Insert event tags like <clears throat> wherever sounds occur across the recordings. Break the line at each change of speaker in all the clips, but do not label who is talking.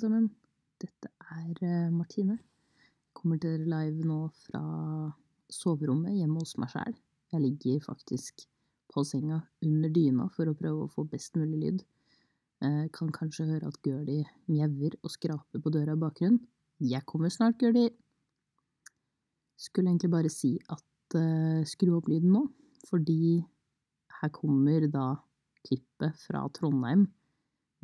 sammen. Dette er eh, Martine. Kommer til dere live nå fra soverommet hjemme hos meg sjæl. Jeg ligger faktisk på senga under dyna for å prøve å få best mulig lyd. Eh, Kan kanskje høre at Gurli mjauer og skraper på døra i bakgrunnen. Jeg kommer snart, Gurli. Skulle egentlig bare si at eh, skru opp lyden nå, fordi her kommer da klippet fra Trondheim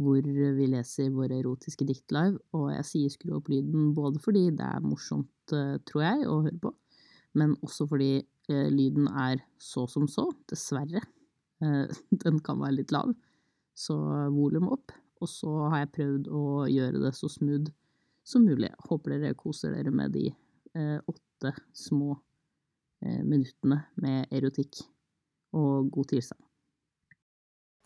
hvor vi leser våre erotiske dikt live, og jeg sier skru opp lyden både fordi det er morsomt, eh, tror jeg, å høre på, men også fordi eh, lyden er så som så, dessverre. <laughs> Eh, Den kan være litt lav, så volum opp. Og så har jeg prøvd å gjøre det så smooth som mulig. Håper dere koser dere med de eh, åtte små eh, minuttene med erotikk og god tilstand.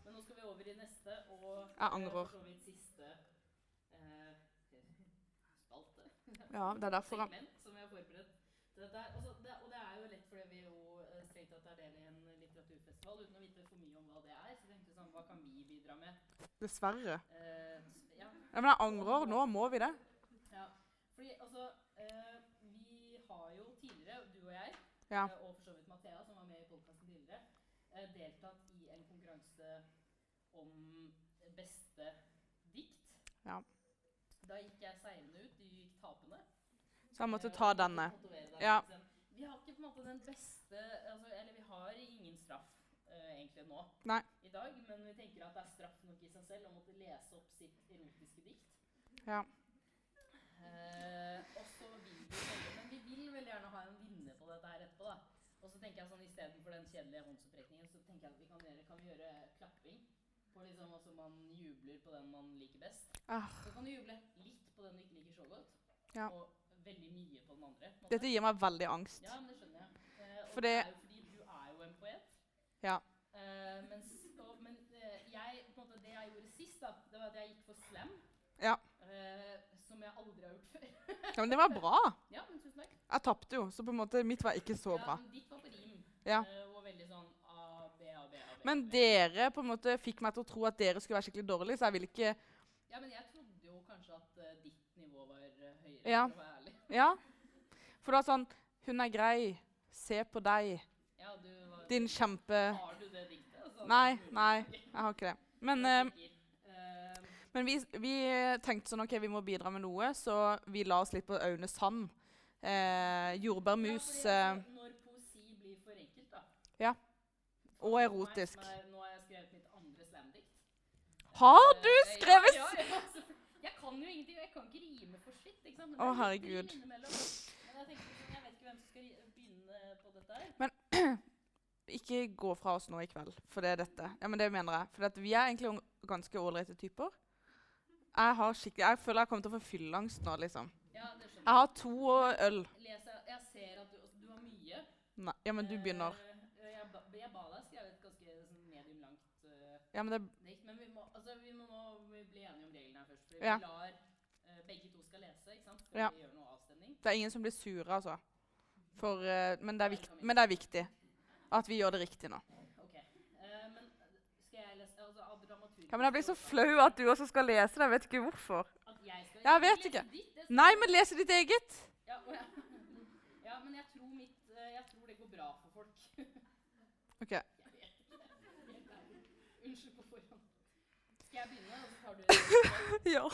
Men nå skal vi over i neste og
Jeg angrer.
for så vidt siste eh, spalte.
Ja, det er derfor jeg...
Segment som jeg har forberedt. Det, det er, altså, det, og det er jo lett fordi vi jo eh, strengt tatt er del i en litteraturfestival uten å vite for mye om hva det er. Så tenkte vi sånn, hva kan vi bidra med?
Dessverre.
Eh, ja,
Ja, men jeg angrer. Nå må vi det.
ja. Fordi altså, eh, vi har jo tidligere, du og jeg,
Ja.
eh, og for så vidt Mathea, som var med i podkasten tidligere, eh, deltatt i en konkurranse om beste dikt.
Ja.
Da gikk jeg seirende ut, du gikk tapende.
Så jeg måtte
Eh,
ta
og
denne.
tatovere deg,
Ja.
ikke sant? Vi har ikke på en måte den beste altså, Eller vi har ingen straff eh, egentlig nå
Nei.
i dag, men vi tenker at det er straff nok i seg selv å måtte lese opp sitt erotiske dikt.
Ja.
Eh, og så vil vi veldig, men vi vil veldig gjerne ha en vinner på dette her etterpå, da. Og så tenker jeg sånn istedenfor den kjedelige håndsopprekningen, så tenker jeg at vi kan gjøre, kan vi gjøre klapping. På liksom, altså man jubler på den man liker best.
Ah.
Så kan du juble litt på den du ikke liker så godt,
Ja.
og veldig mye på den andre. på en måte.
Dette gir meg veldig angst.
Ja, men det skjønner jeg. Eh, og
For
det
det-
er jo fordi du er jo en poet.
Ja.
Eh, mens, og, men eh, jeg, på en måte, det jeg gjorde sist, da, det var at jeg gikk for slam.
Ja.
Eh, som jeg aldri har gjort før. <laughs>
Ja, men det var bra.
Ja, men tusen takk.
Jeg tapte jo, så på en måte mitt var ikke så bra.
Ja, men ditt var på rim.
Ja.
Eh, og veldig sånn A, B, A, B, A, B. A,
Men
B.
dere på en måte fikk meg til å tro at dere skulle være skikkelig dårlige, så jeg vil ikke
Ja, men jeg trodde jo kanskje at eh, ditt nivå var eh, høyere,
Ja.
for å være ærlig.
Ja. For det var sånn Hun er grei. Se på deg.
Ja, du var...
Din kjempe
Har du det diktet? Altså,
Nei,
det er mulig.
nei, jeg har ikke det. Men,
Jeg
eh,
er sikker. Eh,
men vi, vi tenkte sånn OK, vi må bidra med noe, så vi la oss litt på Aune Sand. Eh, jordbærmus
Ja,
eh,
fordi, altså, når poesi blir for enkelt, da.
Ja.
For
Og
meg
erotisk.
som er- Nå har jeg skrevet mitt andre slamdikt.
<laughs> Har
Eh,
du
ja,
skrevet
ja, ja, altså, Jeg kan jo ingenting, og jeg kan ikke rime for sitt. ikke sant? Men det
Å,
er litt
herregud.
rim innimellom. Men jeg tenkte sånn, jeg vet ikke hvem som skal ri- begynne på dette her.
Ikke gå fra oss nå i kveld, for det er dette. Ja, men det mener jeg. For at vi er egentlig ung- ganske ålreite typer. Jeg har skikkelig, jeg føler jeg kommer til å få fylleangst nå, liksom.
Ja, det skjønner
Jeg har to og øl.
jeg. Leser, jeg ser at du, altså, du har mye.
Nei, ja, men du begynner.
Eh, jeg, ba, jeg ba deg skrive et ganske sånn, medium langt eh,
Ja, men det
dikt, men vi må, altså, vi må nå bli enige om reglene her først. Fordi
Ja.
vi lar eh, begge to skal lese, ikke sant? Før
Ja.
vi gjør noe avstemning.
Det er ingen som blir sure, altså. For, eh, men, det er
Nei,
vikt,
det kan vi
men det er viktig at vi gjør det riktig nå.
Ok. Eh, men skal jeg lese altså, av dramaturgiske
Ja, men Jeg blir så
årsaker-
flau at du også skal lese det. Jeg vet ikke hvorfor.
At jeg skal
Jeg vet
lese
ikke.
ditt, det skal
Nei,
jeg-
men lese ditt eget!
ja, å, ja. ja, men jeg tror mitt eh, Jeg tror det går bra for folk. <laughs>
Ok.
Jeg vet ikke. Helt ærlig. Unnskyld på forhånd. Skal jeg begynne, og så tar du det?
<laughs> Ja.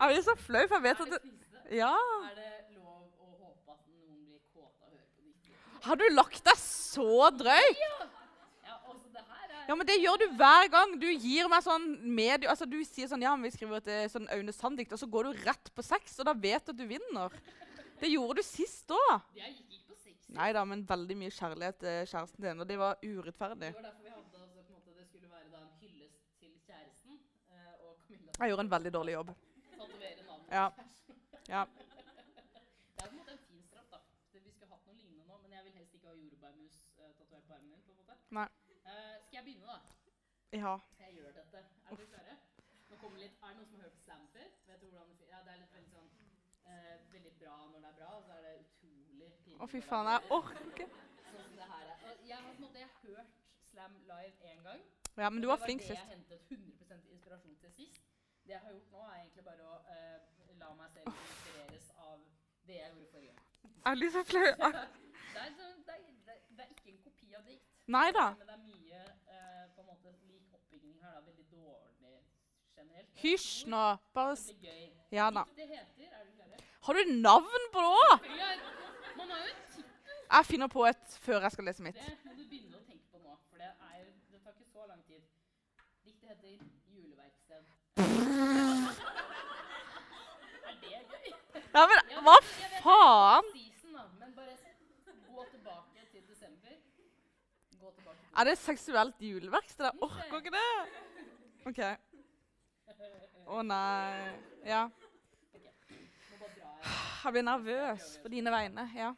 Jeg blir så flau, for jeg vet
Er
at
det
det
krise?
Ja.
Er det lov å håpe at noen blir kåte av å høre på ditt?
Har du lagt deg så drøyt?
Ja, altså, det her er
Ja, men det gjør du hver gang. Du gir meg sånn medie... Altså, du sier sånn Ja, men vi skriver et eh, sånn Aune Sand-dikt, og så går du rett på sex, og da vet du at du vinner. Det gjorde du sist òg.
Jeg gikk ikke på sex.
Nei da, men veldig mye kjærlighet til kjæresten din, og det var urettferdig.
Det var derfor vi hadde altså, på en måte, det skulle være da, en hyllest til kjæresten. eh, og Camilla
Jeg gjorde en veldig dårlig jobb.
tatovere navnet
Ja.
på kjæresten.
Ja.
Det er på en måte en fin straff, da. Det- Vi skulle hatt noe lignende nå, men jeg vil helst ikke ha jordbærmus uh, tatovert på armen min. på en måte.
Nei.
Eh, skal jeg begynne, da?
Ja.
Jeg gjør dette. Er dere klare? Nå kommer litt, er det noen som har hørt slam før? Vet du hvordan det fy- Ja, det er litt veldig sånn eh, Veldig bra når det er bra, og så er det utrolig pinlig.
Å, fy
når det er
faen,
dårlig.
jeg orker ikke.
Sånn som det her er. Og Jeg har på en måte jeg har hørt slam live én gang.
Ja, men
og
du
det
var flink
det
sist.
jeg hentet 100 inspirasjon til sist.
Det jeg har gjort nå, er egentlig bare å eh, la meg selv inspireres av det jeg gjorde forrige
<laughs>
gang.
Jeg blir så flau.
det,
<laughs>
Ah,
er, sånn- det, er, det, er, det er ikke en kopi av dikt.
Nei da.
Men det er mye eh, på en måte lik oppbygging her. Da. Veldig dårlig generelt.
Hysj nå. Bare s-
Det blir gøy.
Ja da.
Vet du hva det heter? Er du klare?
Har du navn på det òg?
Fordi jeg- Man har jo et tittel,
Jeg finner på et før jeg skal lese mitt.
det Eh, må du begynne å tenke på nå. For det, er, det tar ikke så lang tid. Diktet heter 'Juleverksted'. er det gøy?
Ja, men hva faen?
Season, da. Men bare gå tilbake til desember. Gå tilbake til
Er det seksuelt juleverksted? Jeg orker ikke det. OK. Å nei. Ja.
Nå bare drar jeg.
Jeg blir nervøs på dine vegne. Ja.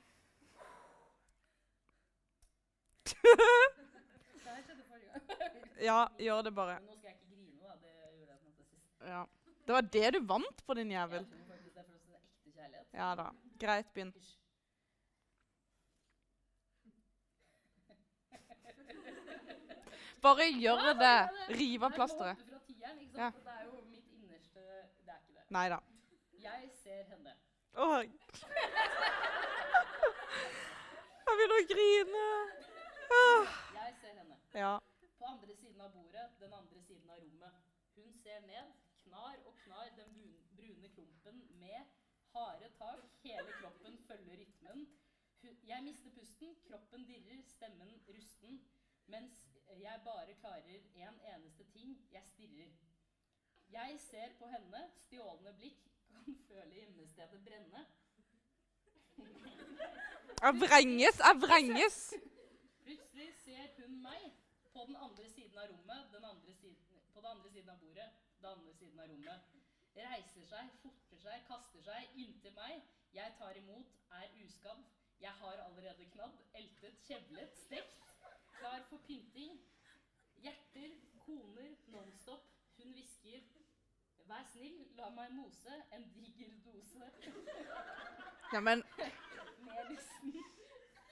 Det her skjedde forrige gang.
Ja, gjør det bare.
Men nå skal jeg ikke grine, da. Det gjorde jeg på en måte sist.
Ja. Det var det du vant på, din
Jeg
jævel.
tror faktisk det er for oss en ekte kjærlighet.
Ja da. Greit, begynn.
Hysj.
Bare gjør det.
Det
Riv
er
av plasteret.
låter fra tieren, ikke sant?
Ja.
Det er jo mitt innerste Det er ikke det.
Nei da.
Jeg ser henne.
Åh. Jeg begynner å grine. Åh.
Jeg ser henne.
Ja.
På andre siden av bordet, den andre siden av rommet. Hun ser ned, knar og knar den brun- brune klumpen med harde tak. Hele kroppen følger rytmen. Hu- Jeg mister pusten, kroppen dirrer, stemmen rusten. Mens jeg bare klarer én eneste ting jeg stirrer. Jeg ser på henne, stjålne blikk, kan føle innestedet brenne.
Jeg vrenges, jeg vrenges.
Plutselig ser hun meg på den andre siden av rommet, den andre siden, på den andre siden av bordet, den andre siden av rommet. Reiser seg, forter seg, kaster seg inntil meg. Jeg tar imot, er uskadd. Jeg har allerede knadd, eltet, kjevlet, stekt. Klar for pynting. Hjerter, koner, nonstop. Hun hvisker. Vær snill, la meg mose en diger dose.
Ja, men
Melisen.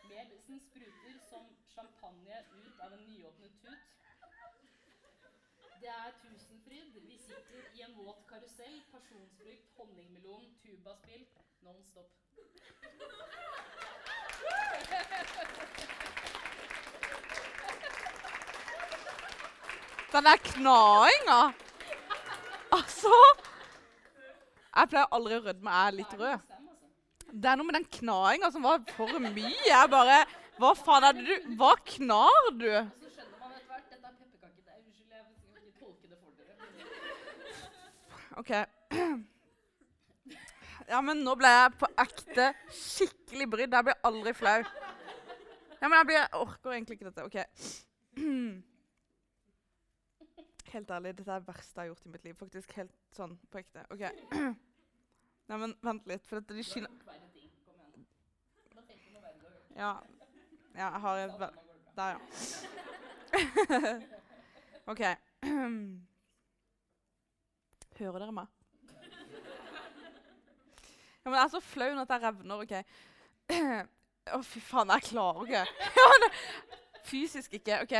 Melisen spruter som champagne ut av en nyåpnet tut. Det er Tusenfryd. Vi sitter i en våt karusell. Pasjonsfrukt, honningmelon, tubaspill non stop.
den der knainga Altså! Jeg pleier aldri å rødme, jeg er litt rød. Det er noe med den knainga som var for mye. Jeg bare Hva faen er det du Hva knar du?
Og så skjønner man etter hvert Dette er pepperkake. Det er- Unnskyld, jeg skal ikke tolke det for dere.
OK. Ja, men nå ble jeg på ekte skikkelig brydd. Jeg blir aldri flau. Ja, men jeg, blir, jeg orker egentlig ikke dette. OK. Helt ærlig, dette er det verste jeg har gjort i mitt liv. Faktisk helt sånn på ekte. OK. <clears throat> Nei, men vent litt, for dette de
Du har
skinner
gjort verre ting. Kom igjen. Da tenker du noe verre du har gjort.
Ja. ja, jeg har et
Alt
vel-
annet går bra.
Der, ja. <laughs> OK. <clears throat> Hører dere meg? Ja, men jeg er så flau nå at jeg revner. OK. <clears throat> Å, fy faen, jeg klarer ikke. <laughs> Ja, men det- Fysisk ikke. OK.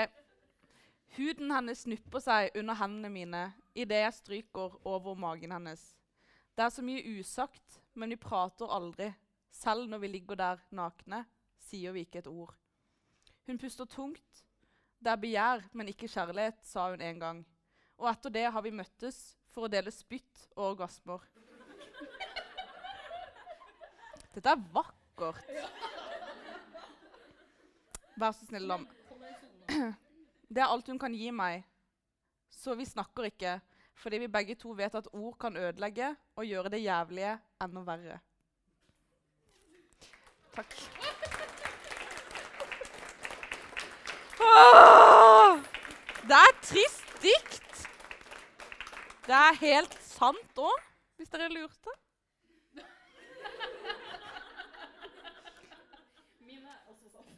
Huden hennes snupper seg under hendene mine idet jeg stryker over magen hennes. Det er så mye usagt, men vi prater aldri. Selv når vi ligger der nakne, sier vi ikke et ord. Hun puster tungt. Det er begjær, men ikke kjærlighet, sa hun en gang. Og etter det har vi møttes for å dele spytt og orgasmer. Dette er vakkert. Vær så snill, lam.
Kom igjen, Sone.
Det er alt hun kan gi meg. Så vi snakker ikke, fordi vi begge to vet at ord kan ødelegge og gjøre det jævlige enda verre. Takk. Åh! Det er et trist dikt. Det er helt sant òg, hvis dere lurte.
Min er også sånn.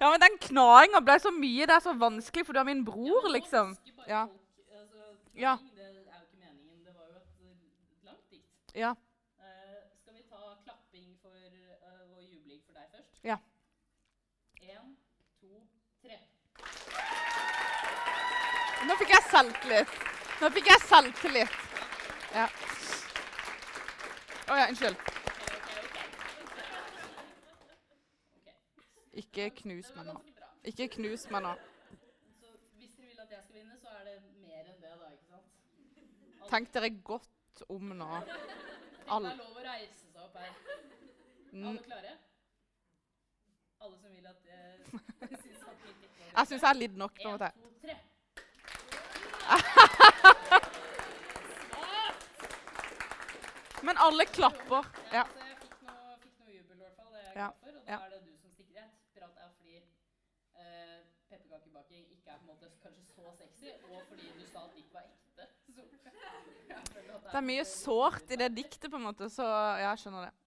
Ja, men Den knainga ble så mye. Det er så vanskelig, for du er min bror, liksom. Ja.
Ja.
Ja.
men nå husker bare folk, Altså, ja. Det er jo ikke meningen. Det var jo et eh, langt dikt.
Ja.
Eh, skal vi ta klapping for eh, og jubling for deg først?
Ja.
Én,
Nå fikk jeg selvtillit. Nå fikk jeg selvtillit. Ja. Å ja, unnskyld. Ikke knus
Det
meg
var
nå.
ganske bra.
Ikke knus meg nå.
Så hvis dere vil at jeg skal vinne, så er det mer enn det, da. ikke sant?
Tenk dere godt om nå.
Det
Alle.
er lov å reise seg opp her.
N- Mm.
Alle klare? Alle som vil at jeg <laughs> syns at vi ikke
Jeg syns jeg har lidd nok. på en måte.
En, to, tre.
<laughs> Men alle klapper.
Ja.
Ja.
Så jeg fikk noe, fikk noe jubel, i hvert fall. Det er jeg
Ja.
glad for. Og da
Ja.
er det du som stikker rett. Prat er fordi eh, pepperkakebaking ikke er på en måte kanskje så sexy, og fordi du sa at ditt var ekte. Så jeg føler at
Det er mye sårt i det diktet, på en måte, så ja, jeg skjønner det.